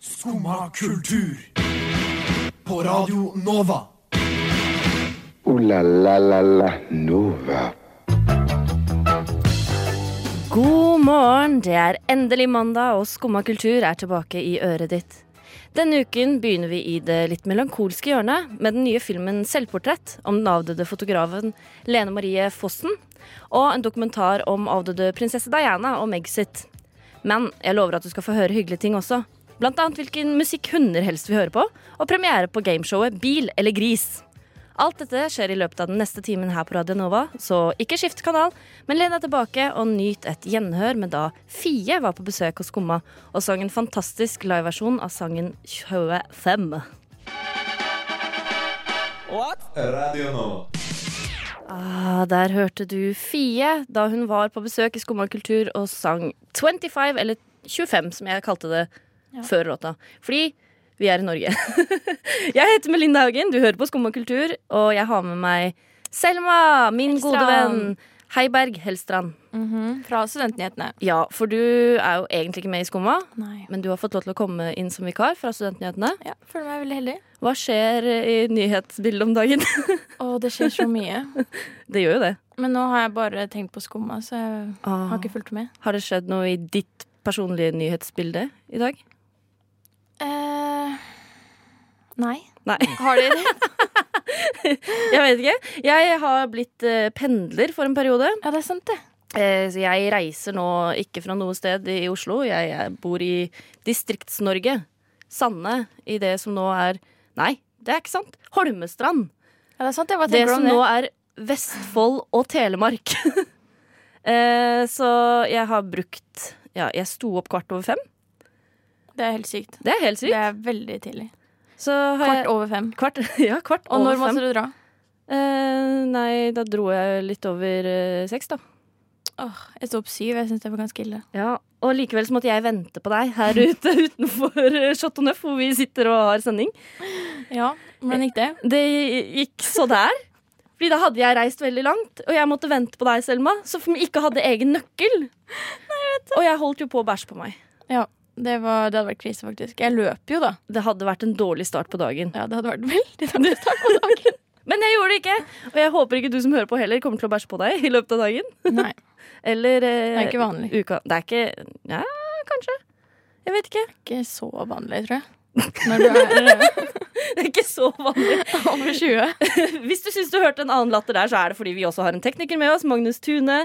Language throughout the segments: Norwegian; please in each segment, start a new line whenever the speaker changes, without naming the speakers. Skumma kultur. På Radio Nova.
Ooh la la la la Nova.
God morgen! Det er endelig mandag, og Skumma kultur er tilbake i øret ditt. Denne uken begynner vi i det litt melankolske hjørnet med den nye filmen 'Selvportrett' om den avdøde fotografen Lene Marie Fossen, og en dokumentar om avdøde prinsesse Diana og Meg sitt. Men jeg lover at du skal få høre hyggelige ting også. Blant annet hvilken musikk hunder helst vil høre på, og premiere på gameshowet Bil eller gris. Alt dette skjer i løpet av den neste timen her på Radio Nova, så ikke skift kanal, men len deg tilbake og nyt et gjenhør med da Fie var på besøk hos Skumma og sang en fantastisk liveversjon av sangen 25.
Radio Nova.
Ah, der hørte du Fie da hun var på besøk i Skumma kultur og sang 25, eller 25 som jeg kalte det før låta. Fordi vi er i Norge. jeg heter Melinda Haugen, du hører på Skumma kultur, og jeg har med meg Selma, min
Hellstrand.
gode venn. Hei, Berg Hellstrand.
Fra Studentnyhetene.
Ja, for du er jo egentlig ikke med i Skumma,
Nei.
men du har fått lov til å komme inn som vikar fra Studentnyhetene.
Ja, føler meg veldig heldig.
Hva skjer i nyhetsbildet om dagen?
Og det skjer så mye.
det gjør jo det.
Men nå har jeg bare tenkt på skumma, så jeg
Ah.
har ikke fulgt med.
Har det skjedd noe i ditt personlige nyhetsbilde i dag?
Eh, nei.
Nei.
Har dere det?
Jeg vet ikke. Jeg har blitt eh, pendler for en periode.
Ja, det er sant, det.
Eh, så jeg reiser nå ikke fra noe sted i Oslo. Jeg, jeg bor i Distrikts-Norge. Sande i det som nå er Nei, det er ikke sant. Holmestrand.
Ja, det er sant, jeg bare
Det
tenker
som
om det.
nå er Vestfold og Telemark. eh, så jeg har brukt Ja, jeg sto opp kvart over fem.
Det er helt sykt.
Det er helt
Det
sykt.
er veldig tidlig.
Så har jeg-
Kvart over fem.
Kvart, ja, kvart
Og
over
når
fem.
måtte du dra?
Eh, nei, da dro jeg litt over eh, seks, da.
Åh, jeg sto opp syv. Jeg syns det var ganske ille.
Ja, og likevel så måtte jeg vente på deg her ute utenfor eh, Chateau Neuf, hvor vi sitter og har sending.
Ja, Hvordan gikk det?
Det gikk så der. Fordi da hadde jeg reist veldig langt, og jeg måtte vente på deg, Selma, som ikke hadde egen nøkkel. og jeg holdt jo på å bæsje på meg.
Ja, det, var, det hadde vært krise, faktisk. Jeg løp jo, da.
Det hadde vært en dårlig start på dagen.
Ja, Det hadde vært veldig dårlig start på dagen.
Men jeg gjorde det ikke! Og jeg håper ikke du som hører på heller kommer til å bæsje på deg i løpet av dagen.
Nei,
Eller eh,
det er ikke vanlig.
uka. Det er ikke Ja, kanskje. Jeg vet ikke.
Ikke så vanlig, tror jeg. Når du er eh,
Det er ikke så vanlig.
over 20.
Hvis du syns du hørte en annen latter der, så er det fordi vi også har en tekniker med oss, Magnus Tune.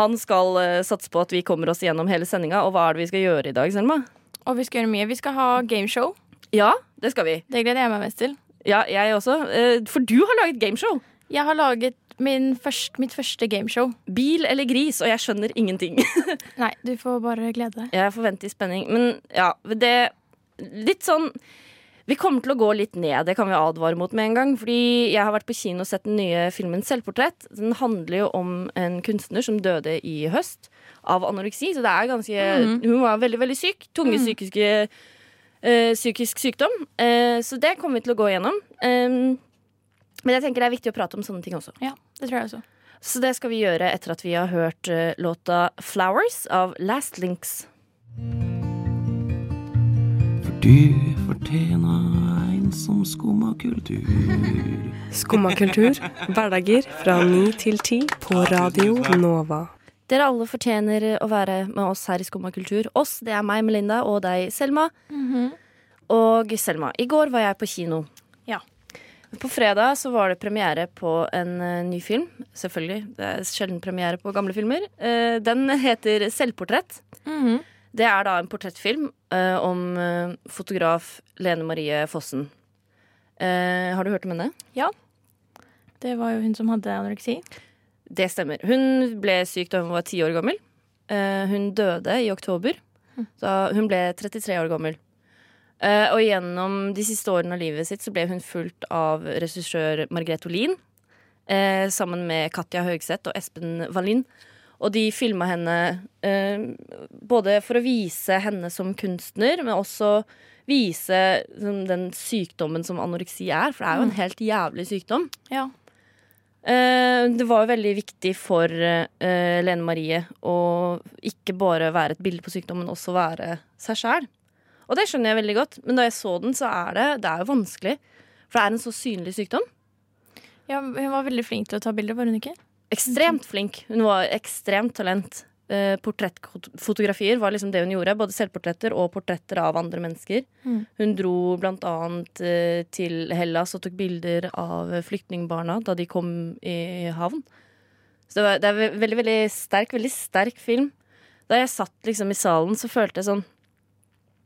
Han skal eh, satse på at vi kommer oss gjennom hele sendinga. Og hva er det vi skal gjøre i dag, Selma?
Og vi skal gjøre mye. Vi skal ha gameshow.
Ja, det skal vi.
Det gleder jeg meg mest til.
Ja, jeg også. Eh, For du har laget gameshow.
Jeg har laget min først, mitt første gameshow.
Bil eller gris, og jeg skjønner ingenting.
Nei, du får bare glede deg.
Jeg forventer i spenning. Men ja, det Litt sånn Vi kommer til å gå litt ned, det kan vi advare mot med en gang. Fordi jeg har vært på kino og sett den nye filmen 'Selvportrett'. Den handler jo om en kunstner som døde i høst av anoreksi. Så det er ganske Hun var veldig, veldig syk. Tunge psykiske eh, Psykisk sykdom. Eh, så det kommer vi til å gå igjennom. Eh, men jeg tenker det er viktig å prate om sånne ting også.
Ja, det tror jeg også.
Så det skal vi gjøre etter at vi har hørt eh, låta 'Flowers' av Last Links.
For du fortjener en som skummer kultur.
Skumma kultur. Hverdager fra 9 til 10 på Radio Nova.
Dere alle fortjener å være med oss her i Skumma kultur. Oss, det er meg, Melinda, og deg, Selma. Og Selma, i går var jeg på kino.
Ja.
På fredag så var det premiere på en eh, ny film. Selvfølgelig. Det er sjelden premiere på gamle filmer. Eh, den heter 'Selvportrett'.
Mhm.
Det er da en portrettfilm eh, om eh, fotograf Lene Marie Fossen. Eh, har du hørt om henne?
Det var jo hun som hadde anoreksi.
Det stemmer. Hun ble syk da hun var ti år gammel. Eh, hun døde i oktober. Da hun ble 33 år gammel. Eh, og gjennom de siste årene av livet sitt så ble hun fulgt av regissør Margrethe Olin. eh, sammen med Katja Høgseth og Espen Wallin. Og de filma henne eh, både for å vise henne som kunstner, men også vise sånn, den sykdommen som anoreksi er. For det er jo en helt jævlig sykdom.
Ja.
Eh, Det var jo veldig viktig for eh, Lene Marie å ikke bare være et bilde på sykdommen, men også være seg sjæl. Og det skjønner jeg veldig godt, men da jeg så den, så er det, det er jo vanskelig. For det er en så synlig sykdom.
Ja, hun var veldig flink til å ta bilder, var hun ikke?
Ekstremt flink. Hun var ekstremt talent. Eh, Portrettfotografier var liksom det hun gjorde. Både selvportretter og portretter av andre mennesker.
Mm.
Hun dro blant annet eh, til Hellas og tok bilder av flyktningbarna da de kom i havn. Så det, var, det er ve- veldig, veldig sterk, veldig sterk film. Da jeg satt liksom i salen, så følte jeg sånn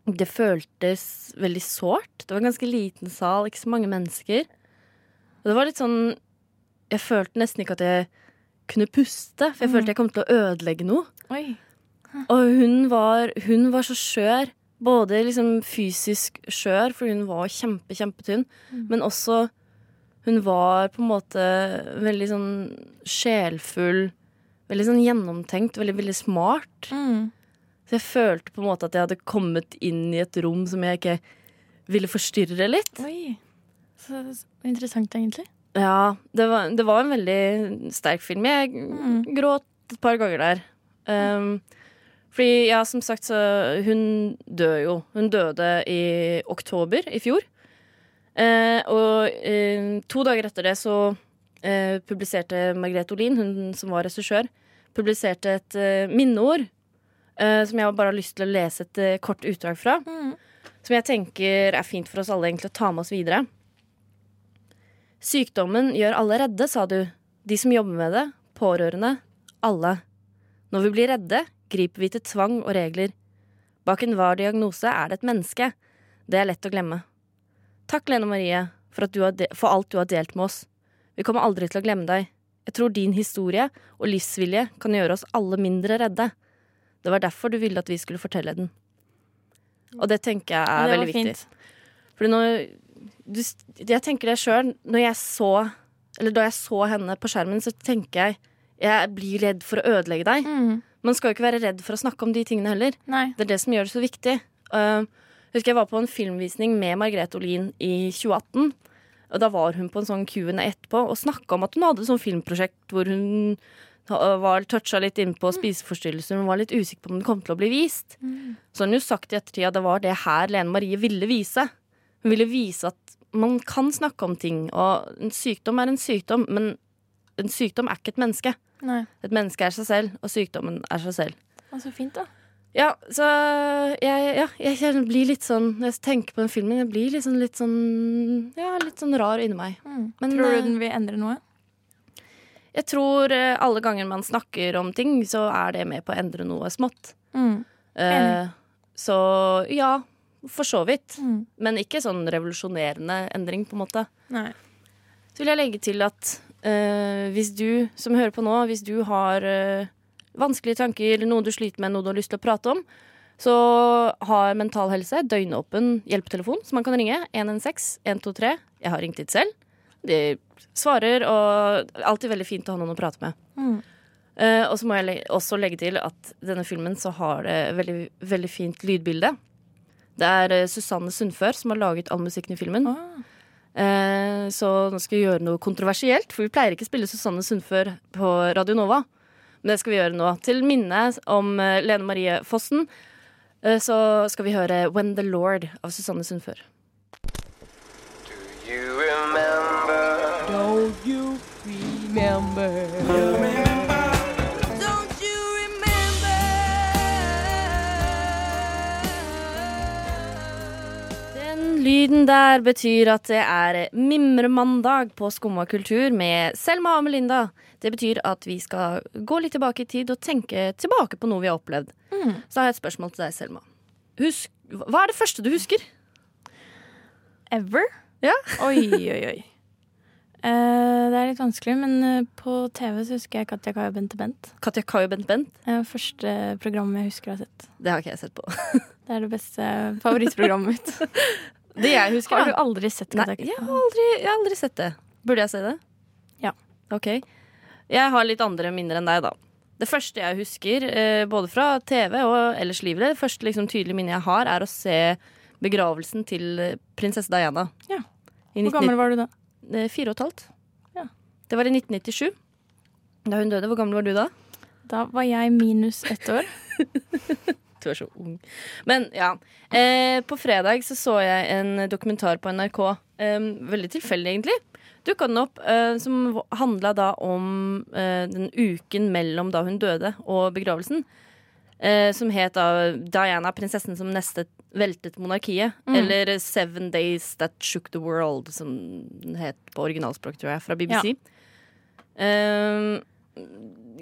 Det føltes veldig sårt. Det var en ganske liten sal, ikke så mange mennesker. Og det var litt sånn Jeg følte nesten ikke at jeg kunne puste, for jeg følte jeg kom til å ødelegge noe.
Oi.
Og hun var, hun var så skjør. Både liksom fysisk skjør, for hun var kjempe, kjempetynn, men også Hun var på en måte veldig sånn sjelfull, veldig sånn gjennomtenkt, veldig, veldig smart.
Mm.
Så jeg følte på en måte at jeg hadde kommet inn i et rom som jeg ikke ville forstyrre litt.
Oi. Så, så interessant, egentlig.
Ja, det var, det var en veldig sterk film. Jeg gråt et par ganger der. Um, fordi, ja, som sagt, så Hun dør jo. Hun døde i oktober i fjor. Eh, og eh, to dager etter det så eh, publiserte Margrethe Olin, hun som var regissør, publiserte et eh, minneord eh, som jeg bare har lyst til å lese et eh, kort utdrag fra. Som jeg tenker er fint for oss alle egentlig å ta med oss videre. Sykdommen gjør alle redde, sa du. De som jobber med det, pårørende, alle. Når vi blir redde, griper vi til tvang og regler. Bak enhver diagnose er det et menneske. Det er lett å glemme. Takk, Lene Marie, for, at du har de for alt du har delt med oss. Vi kommer aldri til å glemme deg. Jeg tror din historie og livsvilje kan gjøre oss alle mindre redde. Det var derfor du ville at vi skulle fortelle den. Og det tenker jeg er
det var
veldig viktig.
fint.
Fordi når du, Jeg tenker det sjøl. Når jeg så Eller da jeg så henne på skjermen, så tenker jeg Jeg blir redd for å ødelegge deg.
Mm.
Man skal jo ikke være redd for å snakke om de tingene heller.
Nei.
Det er det som gjør det så viktig. Uh, jeg husker jeg var på en filmvisning med Margrethe Olin i 2018. Og da var hun på en sånn Q&A etterpå og snakka om at hun hadde et sånt filmprosjekt hvor hun ha- var toucha litt innpå spiseforstyrrelser. Hun var litt usikker på om den kom til å bli vist. Så har hun jo sagt i ettertid at det var det her Lene Marie ville vise. Hun ville vise at man kan snakke om ting. Og en sykdom er en sykdom, men en sykdom er ikke et menneske.
Nei.
Et menneske er seg selv, og sykdommen er seg selv.
Å, så fint, da.
Ja, så jeg, ja, jeg kjenner- blir litt sånn Når jeg tenker på den filmen, jeg blir litt sånn, litt sånn Ja, litt sånn rar inni meg. Men
Mm. Tror
eh,
du den vil endre noe?
jeg tror eh, alle ganger man snakker om ting, så er det med på å endre noe smått.
Mm.
Eh, så ja, for så vidt.
Mm.
Men ikke sånn revolusjonerende endring, på en måte.
Nei.
Så vil jeg legge til at eh, hvis du som hører på nå, hvis du har eh, vanskelige tanker, noe du sliter med, noe du har lyst til å prate om, så har Mental Helse døgnåpen hjelpetelefon som man kan ringe. 116 123. Jeg har ringt dit selv. De svarer, og det er alltid veldig fint å ha noen å prate med.
Mm.
Eh, og så må jeg le også legge til at denne filmen så har det veldig, veldig fint lydbilde. Det er eh, Susanne Sundfør som har laget all musikken i filmen.
Ah.
Eh, Så nå skal vi gjøre noe kontroversielt, for vi pleier ikke å spille Susanne Sundfør på Radio Nova. Men det skal vi gjøre nå. Til minne om eh, Lene Marie Fossen eh, så skal vi høre When the Lord av Susanne Sundfør. Den lyden der betyr at det er mimremandag på Skumma kultur med Selma og Melinda. Det betyr at vi skal gå litt tilbake i tid og tenke tilbake på noe vi har opplevd. Så har jeg et spørsmål til deg, Selma. Husk, hva er det første du husker?
Ever?
Ja.
Oi, oi, oi. Eh, det er litt vanskelig, men eh, på TV så husker jeg Katja Kaja Bente Bent.
Katja Kai og Bent Bent?
Det er første programmet jeg husker å ha sett.
Det har ikke jeg sett på.
Det er det beste favorittprogrammet mitt.
Det jeg husker,
Har du
da.
aldri sett Katja
Nei,
Kaja?
jeg har, aldri, jeg har aldri sett det. Burde jeg se det?
Ja.
Ok. Jeg har litt andre minner enn deg, da. Det første jeg husker, eh, både fra TV og ellers i livet, det første liksom, tydelige minnet jeg har, er å se begravelsen til eh, prinsesse Diana.
Ja.
I
Hvor gammel var du da?
eh, Fire og et halvt.
Ja.
Det var i 1997. Da hun døde. Hvor gammel var du da?
Da var jeg minus ett år.
Du er så ung. Men ja. Eh, på fredag så, så jeg en dokumentar på NRK. Eh, veldig tilfeldig, egentlig. Dukka den opp, eh, som handla da om eh, den uken mellom da hun døde og begravelsen. Eh, som het da Diana, prinsessen som nestet, veltet monarkiet.
Mm.
Eller Seven Days That Shook The World, som den het på originalspråk, tror jeg, fra BBC. Eh,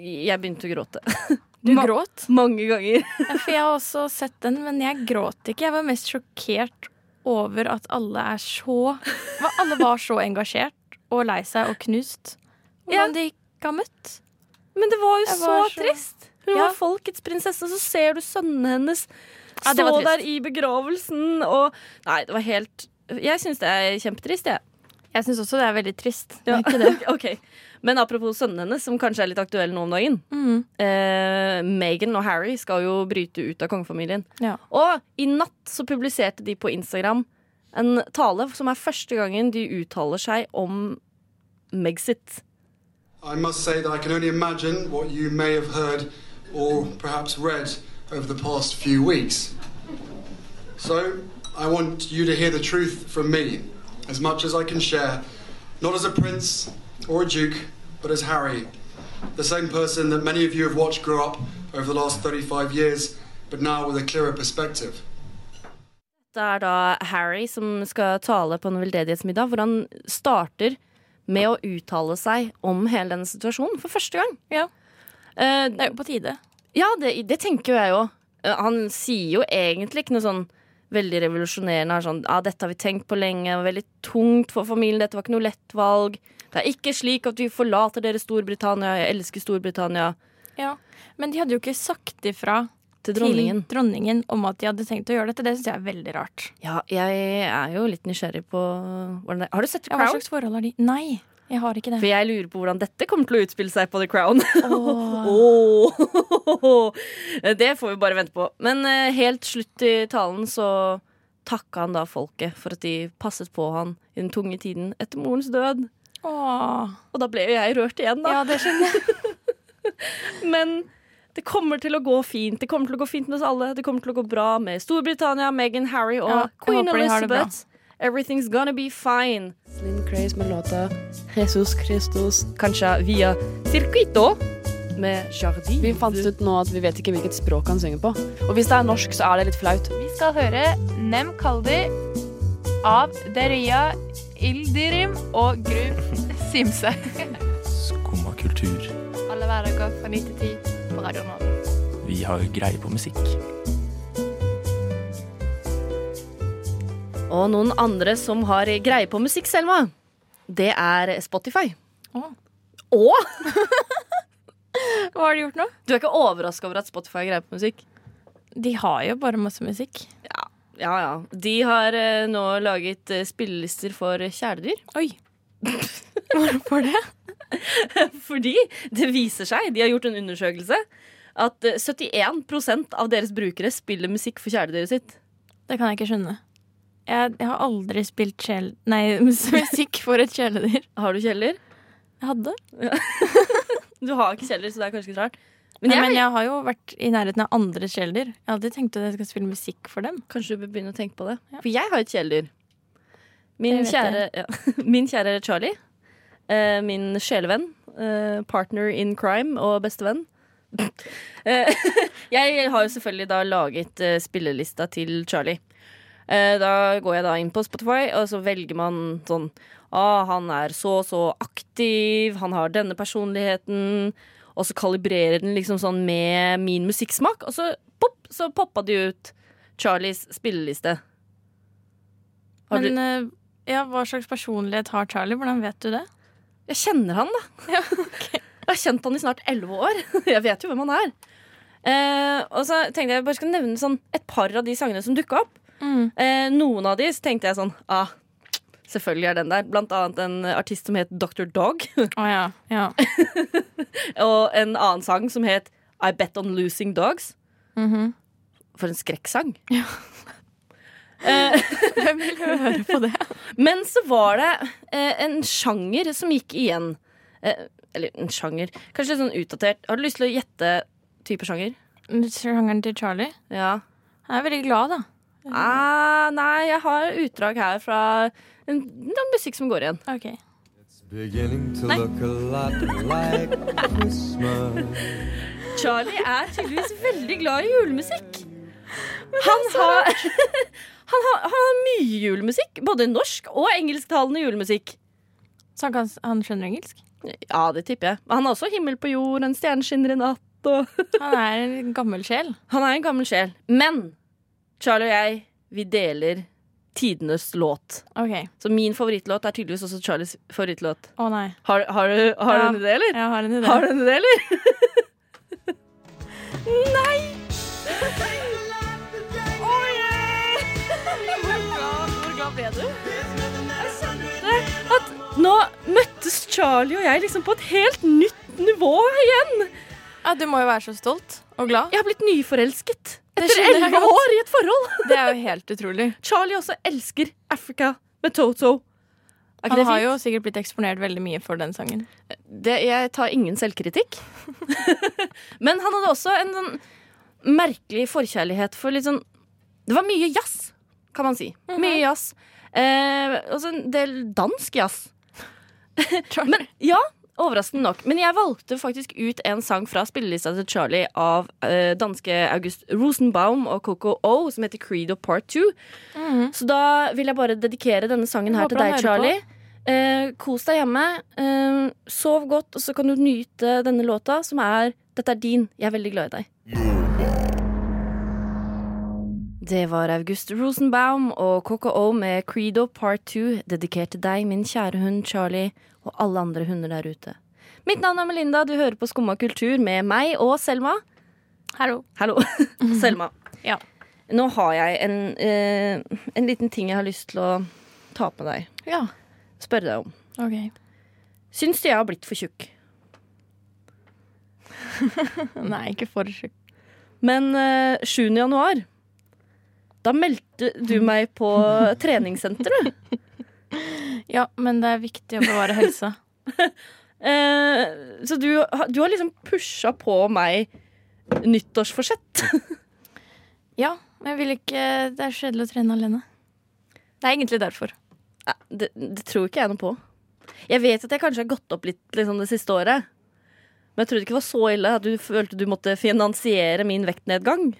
jeg begynte å gråte.
Du
Ma-
gråt?
Mange ganger.
Ja, for jeg har også sett den, men jeg gråt ikke. Jeg var mest sjokkert over at alle er så hva- Alle var så engasjert og lei seg og knust.
Ja.
Hvordan de ikke har møtt.
Men det var jo
Jeg
så,
var så-
trist. Hun
Ja.
var folkets prinsesse, og så ser du sønnene hennes
Ja, det var
stå
trist.
der i begravelsen og Nei, det var helt Jeg syns det er kjempetrist, jeg.
Jeg syns også det er veldig trist.
Ja. Ok. Men apropos sønnene hennes, som kanskje er litt aktuelle nå om dagen.
Mhm.
Eh, Meghan og Harry skal jo bryte ut av kongefamilien.
Ja.
Og i natt så publiserte de på Instagram en tale som er første gangen de uttaler seg om Megxit.
I must say that I can only imagine what you may have heard or perhaps read over the past few weeks. So, I want you to hear the truth from me, as much as I can share, not as a prince or a duke, but as Harry, the same person that many of you have watched grow up over the last 35 years, but now with a clearer perspective.
Det er da Harry som skal tale på en veldedighetsmiddag, hvor han starter med å uttale seg om hele denne situasjonen for første gang.
Ja.
Eh,
Det er jo på tide.
ja, det, det tenker jo jeg òg. Han sier jo egentlig ikke noe sånn veldig revolusjonerende. Han er Sånn, ja, 'Dette har vi tenkt på lenge, det var veldig tungt for familien, dette var ikke noe lett valg.' 'Det er ikke slik at vi forlater dere, Storbritannia, jeg elsker Storbritannia.'
Ja. Men de hadde jo ikke sagt ifra
Til dronningen.
til dronningen om at de hadde tenkt å gjøre dette. Det syns jeg er veldig rart.
Ja, jeg er jo litt nysgjerrig på hvordan det Har du sett The
Ja, hva
Crown?
slags forhold har de? Nei, jeg har ikke
For
det.
jeg lurer på hvordan dette kommer til å utspille seg på The Crown.
Åh.
Åh. Det får vi bare vente på. Men eh, helt slutt i talen så takka han da folket for at de passet på han i den tunge tiden etter morens død.
Åh.
Og da ble jo jeg rørt igjen, da.
Ja, det skjønner jeg.
Men det kommer til å gå fint. Det kommer til å gå fint med oss alle. Det kommer til å gå bra med Storbritannia, Meghan, Harry og
Ja, jeg
Queen
håper de har det bra.
Elizabeth. Everything's gonna be fine.
Slim Craze med låta Jesus Christus.
Kanskje via Circuito med Jardin.
Vi fant ut nå at vi vet ikke hvilket språk han synger på. Og hvis det er norsk, så er det litt flaut.
Vi skal høre Nem Kaldi av Deria Ildirim og Gru Simse.
Skumma kultur.
Alle hverdager fra 9 til 10 på Radio Nova.
Vi har greie på musikk.
Og noen andre som har greie på musikk, Selma, det er Spotify.
Åh.
Og
Hva har de gjort nå?
du er ikke overraska over at Spotify har greie på musikk?
De har jo bare masse musikk.
Ja, ja. De har eh, nå laget eh, spillelister for kjæledyr.
Oi. Hvorfor det?
Fordi det viser seg, de har gjort en undersøkelse, at eh, 71 av deres brukere spiller musikk for kjæledyret sitt.
Det kan jeg ikke skjønne. Jeg, jeg har aldri spilt kjel... Nei, musikk for et kjæledyr.
Har du kjeller?
Jeg hadde.
Du har ikke kjeller, så det er kanskje ikke så rart. Men
Nei,
jeg,
men jeg har jo vært i nærheten av andre kjæledyr. Jeg har alltid tenkt at jeg skal spille musikk for dem.
Kanskje du bør begynne å tenke på det. For jeg har et kjæledyr. Min,
Det vet
kjære- ja, min kjære Charlie. eh, min sjelevenn. eh, partner in crime og bestevenn. Eh, jeg har jo selvfølgelig da laget eh, spillelista til Charlie. Eh, da går jeg da inn på Spotify, og så velger man sånn ah, Han er så og så aktiv, han har denne personligheten. Og så kalibrerer den liksom sånn med min musikksmak, og så, pop, så poppa de ut Charlies spilleliste. Har
Men eh, ja, hva slags personlighet har Charlie? Hvordan vet du det?
du Jeg kjenner han, da. Jeg har kjent han i snart elleve år. Jeg vet jo hvem han er. Eh, og så tenkte jeg jeg bare skal nevne sånn et par av de sangene som dukka opp. Eh, noen av de så tenkte jeg sånn ah, Selvfølgelig er den der. Blant annet en artist som het Dr. Dog.
Å ja. ja.
Og en annen sang som het I Bet On Losing Dogs.
Mhm.
For en skrekksang.
Hvem vil høre på det?
Men så var det eh, en sjanger som gikk igjen. Eh, eller en sjanger. Kanskje litt sånn utdatert. Har du lyst til å gjette type sjanger?
Sjangeren til Charlie?
Ja.
Jeg er veldig glad, da.
Ah, nei, jeg har utdrag her fra en, en sånn musikk som går igjen.
Ok.
Beginning to look a lot like Christmas.
Charlie er tydeligvis veldig glad i julemusikk. Han har, han, har, han har mye julemusikk. Både norsk og engelsktalende julemusikk.
Så han, kan, han skjønner engelsk?
Ja, det tipper jeg. Men Han har også 'Himmel på jord', 'En stjerne skinner i natt' og
Han er en gammel sjel.
Han er en gammel sjel. Men Charlie og jeg, vi deler tidenes låt.
Ok.
Så min favorittlåt er tydeligvis også Charlies favorittlåt.
Å nei.
Har, har, du, har
Ja.
du en idé, eller?
Jeg har en idé.
Har du en idé, eller?
Nei!
Hvor glad ble du?
At nå møttes Charlie og jeg liksom på et helt nytt nivå igjen.
Ja, du må jo være så stolt og glad.
Jeg har blitt nyforelsket.
Det
Etter
skjønner jeg
elleve
godt.
år i et forhold.
Det er jo helt utrolig.
Charlie også elsker Africa med Toto. Er ikke
Han
det
har
fint?
jo sikkert blitt eksponert veldig mye for den sangen.
det, jeg tar ingen selvkritikk. Men han hadde også en sånn merkelig forkjærlighet for litt sånn Det var mye jazz, kan man si. Mye jazz. Eh, og så en del dansk jazz. Men, ja, overraskende nok. Men jeg valgte faktisk ut en sang fra spillelista til Charlie av eh, danske August Rosenbaum og Coco O, som heter Credo Part 2. Så da vil jeg bare dedikere denne sangen her
Mhm. Håper
til deg,
han hører på.
Charlie. Eh, kos deg hjemme. Eh, sov godt, og så kan du nyte denne låta, som er 'Dette er din'. Jeg er veldig glad i deg. Det var August Rosenbaum og KKO med Credo Part 2, dedikert til deg, min kjære hund Charlie, og alle andre hunder der ute. Mitt navn er Melinda, du hører på Skumma kultur med meg og Selma.
Hallo.
Hallo, Selma.
Ja.
Nå har jeg en, eh, en liten ting jeg har lyst til å ta på deg.
Ja.
Spørre deg om.
OK.
Syns du jeg har blitt for tjukk?
Nei, ikke for tjukk.
Men eh, 7. januar, da meldte du meg på treningssenteret.
Ja, men det er viktig å bevare helsa.
Eh, så du, har- du har liksom pusha på meg nyttårsforsett.
Ja, men jeg vil ikke Det er så kjedelig å trene alene. Det er egentlig derfor.
Nei, det, det tror ikke jeg noe på. Jeg vet at jeg kanskje har gått opp litt liksom, det siste året. Men jeg trodde ikke det var så ille at du følte du måtte finansiere min vektnedgang.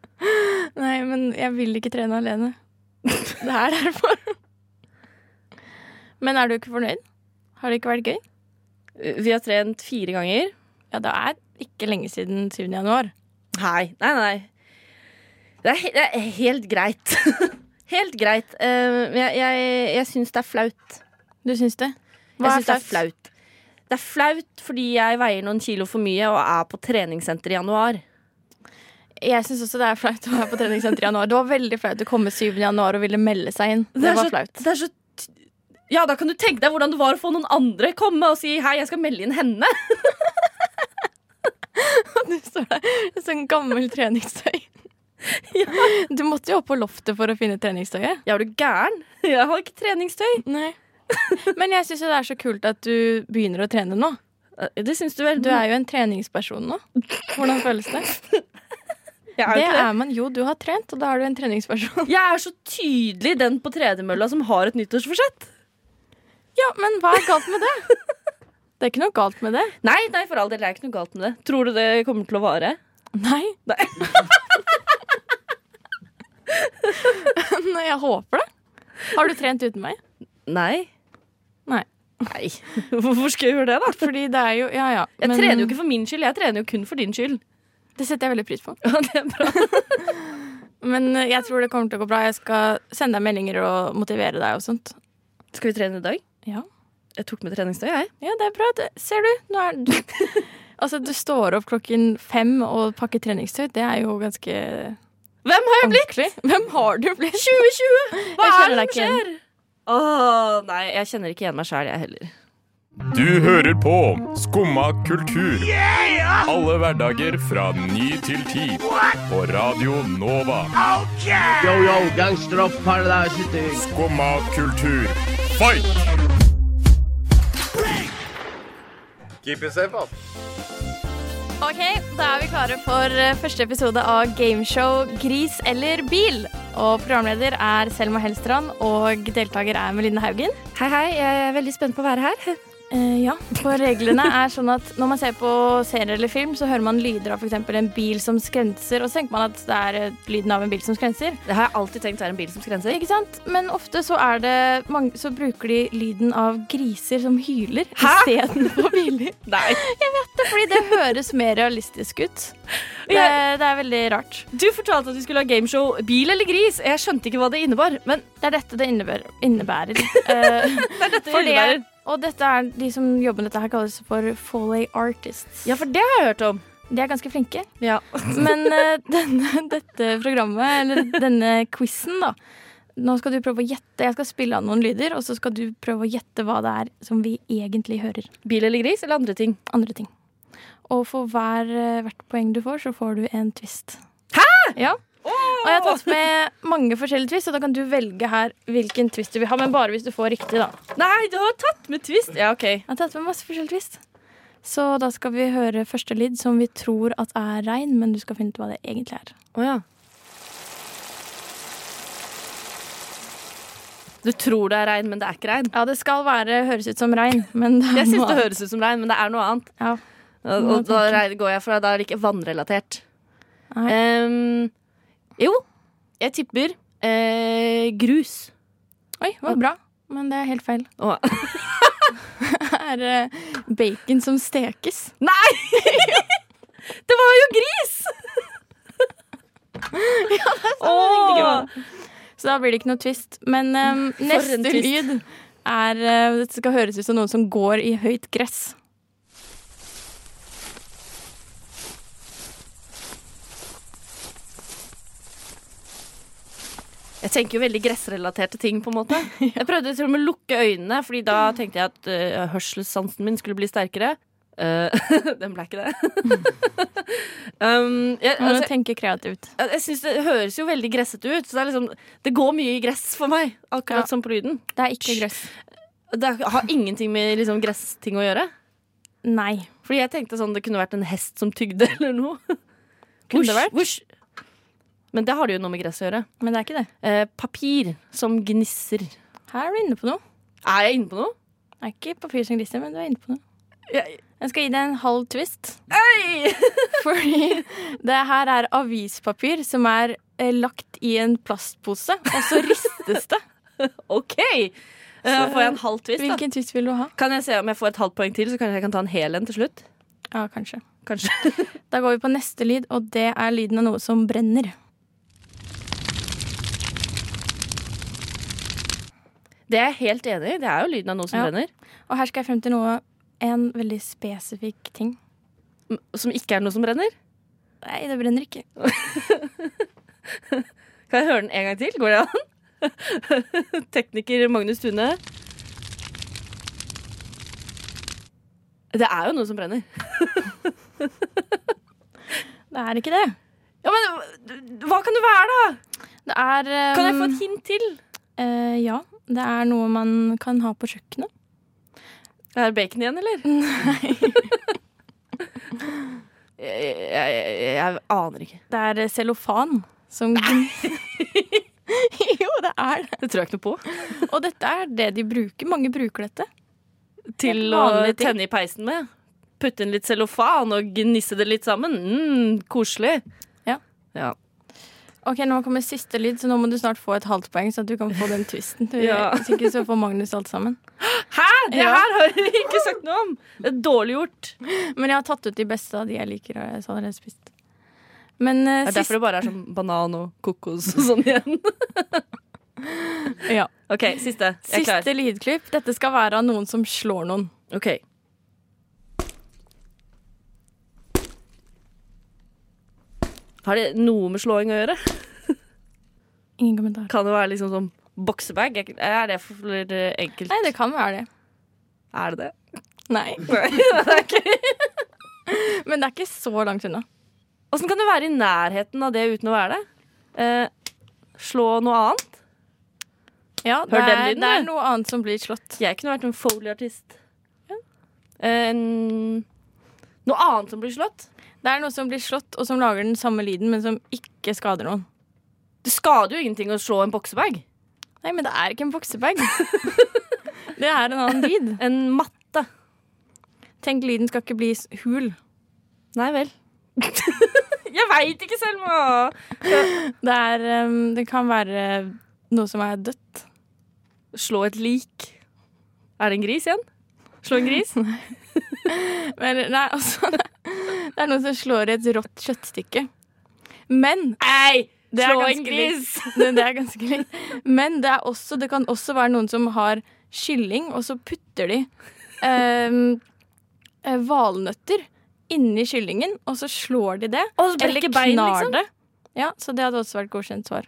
Nei, men jeg vil ikke trene alene. Det er derfor. Men er du ikke fornøyd? Har det ikke vært gøy?
Vi har trent fire ganger.
Ja, det er ikke lenge siden 7. januar.
Nei, nei, nei. Det er, he- det er helt greit. helt greit. Eh, men jeg jeg, jeg syns det er flaut.
Du syns det?
jeg syns det er flaut. Det er flaut fordi jeg veier noen kilo for mye og er på treningssenter i januar.
Jeg syns også det er flaut å være på treningssenter i januar. Det var veldig flaut å komme 7. januar og ville melde seg inn. Det,
er
var
så-
flaut.
Det er så t- ja, da kan du tenke deg hvordan det var å få noen andre komme og si hei, jeg skal melde inn henne.
Du står der i sånn gammel treningstøy. Du måtte jo opp på loftet for å finne treningstøyet.
Ja, er du gæren? Jeg har ikke treningstøy.
Nei. Men jeg syns det er så kult at du begynner å trene nå.
Eh, Det syns du vel?
Du er jo en treningsperson nå. Hvordan føles det?
jeg er jo
Det
ikke det.
er man jo. Du har trent, og da er du en treningsperson.
Jeg er så tydelig den på tredemølla som har et nyttårsforsett.
Ja, men hva er galt med det? Det er ikke noe galt med det.
Nei, nei, for all del, det er ikke noe galt med det. Tror du det kommer til å vare?
Nei.
Nei.
Nei, jeg håper det. Har du trent uten meg?
Nei.
Nei.
Nei. Hvorfor skal jeg gjøre det, da?
Fordi det er jo Ja, ja.
Jeg
men-
trener jo ikke for min skyld, jeg trener jo kun for din skyld.
Det setter jeg veldig pris på.
Ja, det er bra.
Men eh, jeg tror det kommer til å gå bra. Jeg skal sende deg meldinger og motivere deg og sånt.
Skal vi trene i dag?
Ja,
Jeg tok med treningstøy, jeg.
ja det er bra. Det, ser du, nå er du Altså, du står opp klokken fem og pakker treningstøy. Det er jo ganske
Hvem har jeg blitt?
ordentlig. Hvem har du blitt?
2020! Hva
Jeg
er det
kjenner deg
som
ikke igjen.
skjer? Å, nei, jeg kjenner ikke igjen meg sjæl, jeg heller.
Du hører på Skumma kultur. Alle hverdager fra ny til ti. På Radio Nova.
Yo, yo, gangster of paradise city.
Skumma kultur. Fight!
Keep it safe, ass.
Oi, OK, da er vi klare for eh, første episode av gameshow Gris eller bil. Og programleder er Selma Helstrand, og deltaker er Melinda Haugen.
Hei, hei. Jeg er veldig spent på å være her.
Eh, ja, for reglene er sånn at når man ser på serie eller film, så hører man lyder av f.eks. en bil som skrenser, og så tenker man at det er eh, lyden av en bil som skrenser.
Det har jeg alltid tenkt er en bil som skrenser.
Ikke sant? Men ofte så er det mange, så bruker de lyden av griser som hyler
Hæ?
istedenfor biler.
Nei.
Jeg vet det, fordi det høres mer realistisk ut. Det, det er veldig rart.
Du fortalte at vi skulle ha gameshow Bil eller gris. Jeg skjønte ikke hva det innebar, men
Det er dette det innebærer. innebærer. det er dette
innebærer.
Eh, Og dette er de som jobber med dette her, kalles for Foley Artists.
Ja, for det har jeg hørt om.
De er ganske flinke.
Ja.
Men eh, denne, dette programmet, eller denne quizen, da Nå skal du prøve å gjette. Jeg skal spille av noen lyder, og så skal du prøve å gjette hva det er som vi egentlig hører.
Bil eller gris eller andre ting?
Andre ting. Og for hver, eh, hvert poeng du får, så får du en twist. Hæ?! Ja. Og jeg har tatt med mange forskjellige twist, og da kan du velge her hvilken twist du vil ha. Men bare hvis du får riktig, da.
Nei, du har tatt med twist! Ja, OK.
Jeg har tatt med masse forskjellige twist. Så da skal vi høre første lyd, som vi tror at er regn, men du skal finne ut hva det egentlig er.
Å ja. Du tror det er regn, men det er ikke regn.
Ja, det skal være høres ut som regn, men det er
Jeg syns
noe
det
annet.
høres ut som regn, men det er noe annet.
Ja.
Og, og da regn- går jeg for at det er ikke vannrelatert.
Nei.
Ehm, jo, jeg tipper eh, grus.
Oi, det var bra, men det er helt feil.
Å.
Det er eh, bacon som stekes.
Nei! det var jo gris! Åh!
Så da blir det ikke noe twist. Men eh, neste
en twist.
lyd er eh, Det skal høres ut som noen som går i høyt gress.
Jeg tenker jo veldig gressrelaterte ting, på en måte. Jeg prøvde til og med å lukke øynene, Fordi da tenkte jeg at eh, hørselssansen min skulle bli sterkere. Eh, den ble ikke det. um, jeg,
Man må
altså,
tenke kreativt.
jeg, jeg synes Det høres jo veldig gressete ut, så det, er liksom, det går mye i gress for meg. Akkurat
Ja.
som på lyden.
Det er ikke gress.
Det har ingenting med liksom, gressting å gjøre.
Nei.
Fordi jeg tenkte sånn, det kunne vært en hest som tygde eller noe.
Kunne det
Vosj,
vært?
vosj. Men det har det jo noe med gress å gjøre.
Men det er ikke det.
Eh, papir som gnisser.
Her er du inne på noe.
Er jeg inne på noe?
Det er ikke papir som glisser, men du er inne på noe.
Jeg-
Jeg skal gi deg en halv twist. Fordi det her er avispapir som er eh, lagt i en plastpose, og så ristes det.
OK! Eh, får jeg en halv twist, da?
Hvilken twist vil du ha?
Kan jeg se om jeg får et halvt poeng til, så kanskje jeg kan ta en hel en til slutt?
Ja, kanskje.
Kanskje.
Da går vi på neste lyd, og det er lyden av noe som brenner.
Det er jeg helt enig i. Det er jo lyden av noe som
Ja.
brenner.
Og her skal jeg frem til noe, en veldig spesifikk ting.
M- Som ikke er noe som brenner.
Nei, det brenner ikke.
Kan jeg høre den en gang til? Går det an? Tekniker Magnus Tune. Det er jo noe som brenner.
Det er ikke det.
Ja, men hva kan det være, da?
Det er eh,
Kan jeg få et hint til?
eh, ja, det er noe man kan ha på kjøkkenet.
Det er bacon igjen, eller?
Nei.
Jeg, jeg, jeg, jeg aner ikke.
Det er eh, cellofan som Jo, det er det.
Det tror jeg ikke noe på.
Og dette er det de bruker. Mange bruker dette.
Til å
vanlige ting.
tenne i peisen med. Putte inn litt cellofan og gnisse det litt sammen. Mm, koselig.
Ja.
Ja.
Ok, Nå kommer siste lyd, så nå må du snart få et halvt poeng. Så at du kan få den twisten. Du,
Ja.
Hvis ikke så får Magnus alt sammen.
Hæ? Det
Ja.
her har vi ikke sagt noe om! Det er dårlig gjort.
Men jeg har tatt ut de beste av de jeg liker. Og jeg har allerede spist Men eh,
Det er
sist
derfor det bare er sånn banan og kokos og sånn igjen.
ja.
OK, siste. Jeg er klar.
Siste lydklipp. Dette skal være av noen som slår noen.
OK. Har det noe med slåing å gjøre?
Ingen kommentar.
Kan det være liksom sånn boksebag? Er det for enkelt?
Nei, det kan være det.
Er det det?
Nei. Men det er ikke så langt unna.
Åssen kan det være i nærheten av det uten å være det? Eh, slå noe annet?
Ja, det
Hør den
er,
lyden,
det er
du.
noe annet som blir slått.
Jeg kunne vært en folieartist. En Noe annet som blir slått?
Det er noe som blir slått, og som lager den samme lyden, men som ikke skader noen.
Det skader jo ingenting å slå en boksebag.
Nei, men det er ikke en boksebag. det er en annen lyd.
En matte.
Tenk, lyden skal ikke bli s- hul.
Nei vel. Jeg veit ikke, Selma!
Det, er, um, det kan være noe som er dødt.
Slå et lik. Er det en gris igjen? Slå en gris?
Men, nei, altså Det er noe som slår i et rått kjøttstykke. Men
Nei!
det er
slå en
ganske
gris!
likt. Det, det er ganske likt. Men det, er også, det kan også være noen som har kylling, og så putter de um, eh, valnøtter inni kyllingen, og så slår de det.
Og så brekker bein, liksom?
det. Ja, så det hadde også vært godkjent svar.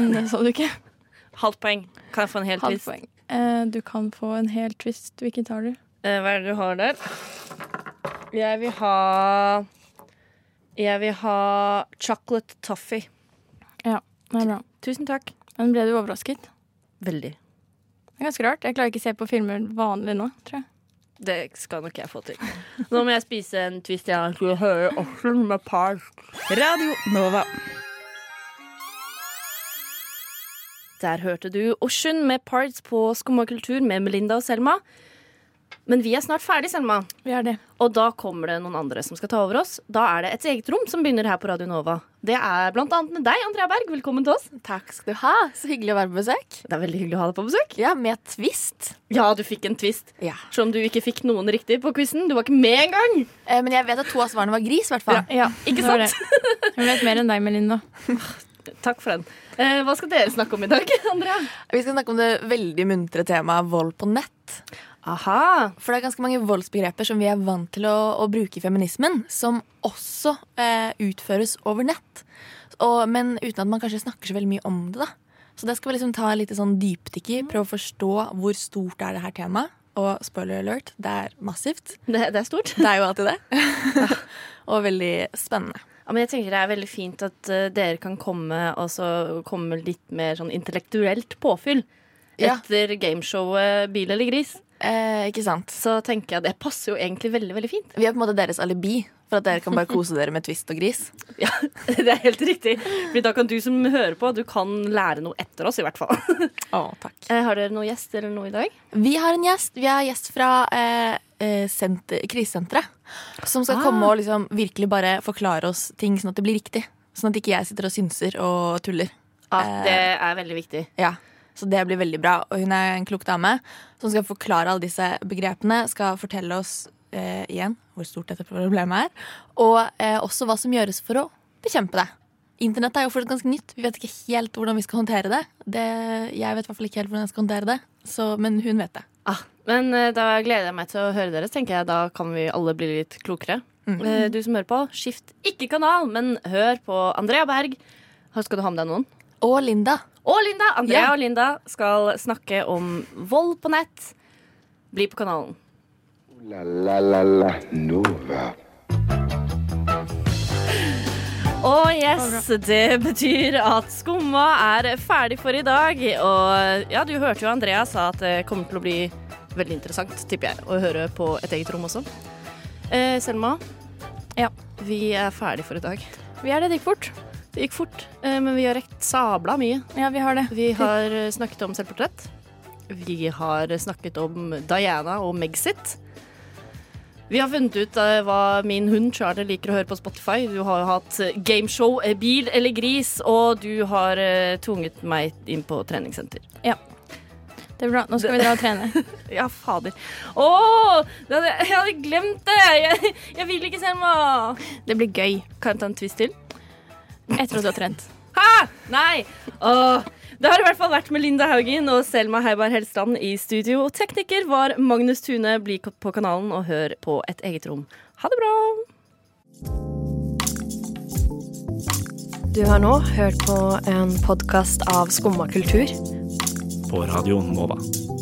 Men det sa du ikke.
Halvt poeng. Kan jeg få en hel
Halvt
twist?
poeng. Eh, du kan få en hel twist. Hvilken tar du?
Eh, Hva er det du har der? Jeg vil ha Jeg vil ha chocolate toffee.
Ja, det er bra.
Tusen takk.
Men ble du overrasket?
Veldig.
Det er ganske rart. Jeg klarer ikke å se på filmer vanlig nå, tror jeg.
Det skal nok jeg få til. Nå må jeg spise en twist jeg skulle høre også med park.
Radio Nova.
Der hørte du Ocean med Parts på Skumma kultur med Melinda og Selma. Men vi er snart ferdig, Selma.
Vi er det.
Og da kommer det noen andre som skal ta over oss. Da er det et eget rom som begynner her på Radio Nova. Det er blant annet med deg, Andrea Berg. Velkommen til oss.
Takk skal du ha. Så hyggelig å være på besøk.
Det er veldig hyggelig å ha deg på besøk.
Ja, med twist.
Ja, du fikk en twist. Selv om du ikke fikk noen riktig på quizen. Du var ikke med engang.
Eh, men jeg vet at to av svarene var gris, i hvert fall.
Ja, ikke sant?
Hun vet mer enn deg, Melinda.
Takk for den. Eh, hva skal dere snakke om i dag, Andrea?
Vi skal snakke om det veldig muntre temaet vold på nett.
Aha.
For det er ganske mange voldsbegreper som vi er vant til å, å bruke i feminismen, som også eh, utføres over nett. Og, men uten at man kanskje snakker så veldig mye om det. da. Så det skal vi liksom ta litt sånn dypdykk i. Prøve å forstå hvor stort er det her temaet. Og spoiler alert, det er massivt.
Det, det er stort.
Det er jo alltid det. og veldig spennende.
Ja, men jeg tenker Det er veldig fint at eh, dere kan komme, og så komme med litt mer sånn intellektuelt påfyll
Ja.
etter gameshowet Bil eller gris.
Eh, ikke sant.
Så tenker jeg det passer jo egentlig veldig veldig fint.
Vi er på en måte deres alibi for at dere kan bare kose dere med twist og gris.
det er helt riktig. Fordi da kan du som hører på, du kan lære noe etter oss, i hvert fall. Eh, Har dere noen gjest eller noe i dag?
Vi har en gjest. Vi har gjest fra eh, eh, senter, krisesenteret. Som skal
Ah.
komme og liksom virkelig bare forklare oss ting sånn at det blir riktig. Sånn at ikke jeg sitter og synser og tuller. Eh,
Ja, det er veldig viktig.
Ja, Så det blir veldig bra. Og hun er en klok dame som skal forklare alle disse begrepene. Skal fortelle oss eh, igjen hvor stort dette problemet er. Og eh, også hva som gjøres for å bekjempe det. Internett er jo fortsatt ganske nytt. Vi vet ikke helt hvordan vi skal håndtere det. det jeg vet i hvert fall ikke helt hvordan jeg skal håndtere det, så, men hun vet det.
Men eh, da gleder jeg meg til å høre dere. Så tenker jeg Da kan vi alle bli litt klokere.
Mm.
Eh, Du som hører på, skift ikke kanal, men hør på Andrea Berg. Her Skal du ha med deg noen?
Og Linda.
Og Linda! Andrea
Ja.
og Linda skal snakke om vold på nett. Bli på kanalen.
La la la la Nova.
Og yes, det betyr at Skumma er ferdig for i dag. Og ja, du hørte jo Andrea sa at det kommer til å bli veldig interessant, tipper jeg, å høre på et eget rom også. Eh, Selma,
ja.
vi er ferdig for i dag.
Vi er det. Det gikk fort.
Det gikk fort, eh, men vi har rekt sabla mye.
Ja, vi har det.
Vi har eh, snakket om selvportrett. Vi har snakket om Diana og Megxit. Vi har funnet ut eh, hva min hund Charlie liker å høre på Spotify. Du har jo hatt eh, gameshow, eh, bil eller gris, og du har eh, tvunget meg inn på treningssenter.
Ja. Det er bra. Nå skal vi dra og trene.
Ja, fader. Å! det hadde- jeg hadde glemt det! Jeg, jeg vil ikke, Selma.
Det blir gøy.
Kan jeg ta en twist til?
Etter at du har trent.
Hæ? Nei! Åh. Det har i hvert fall vært Melinda Haugen og Selma Heiberg Helstrand i studio. Og tekniker var Magnus Tune. Bli på kanalen og hør på Et eget rom. Ha det bra!
Du har nå hørt på en podkast av Skumma kultur.
På Radio Nova.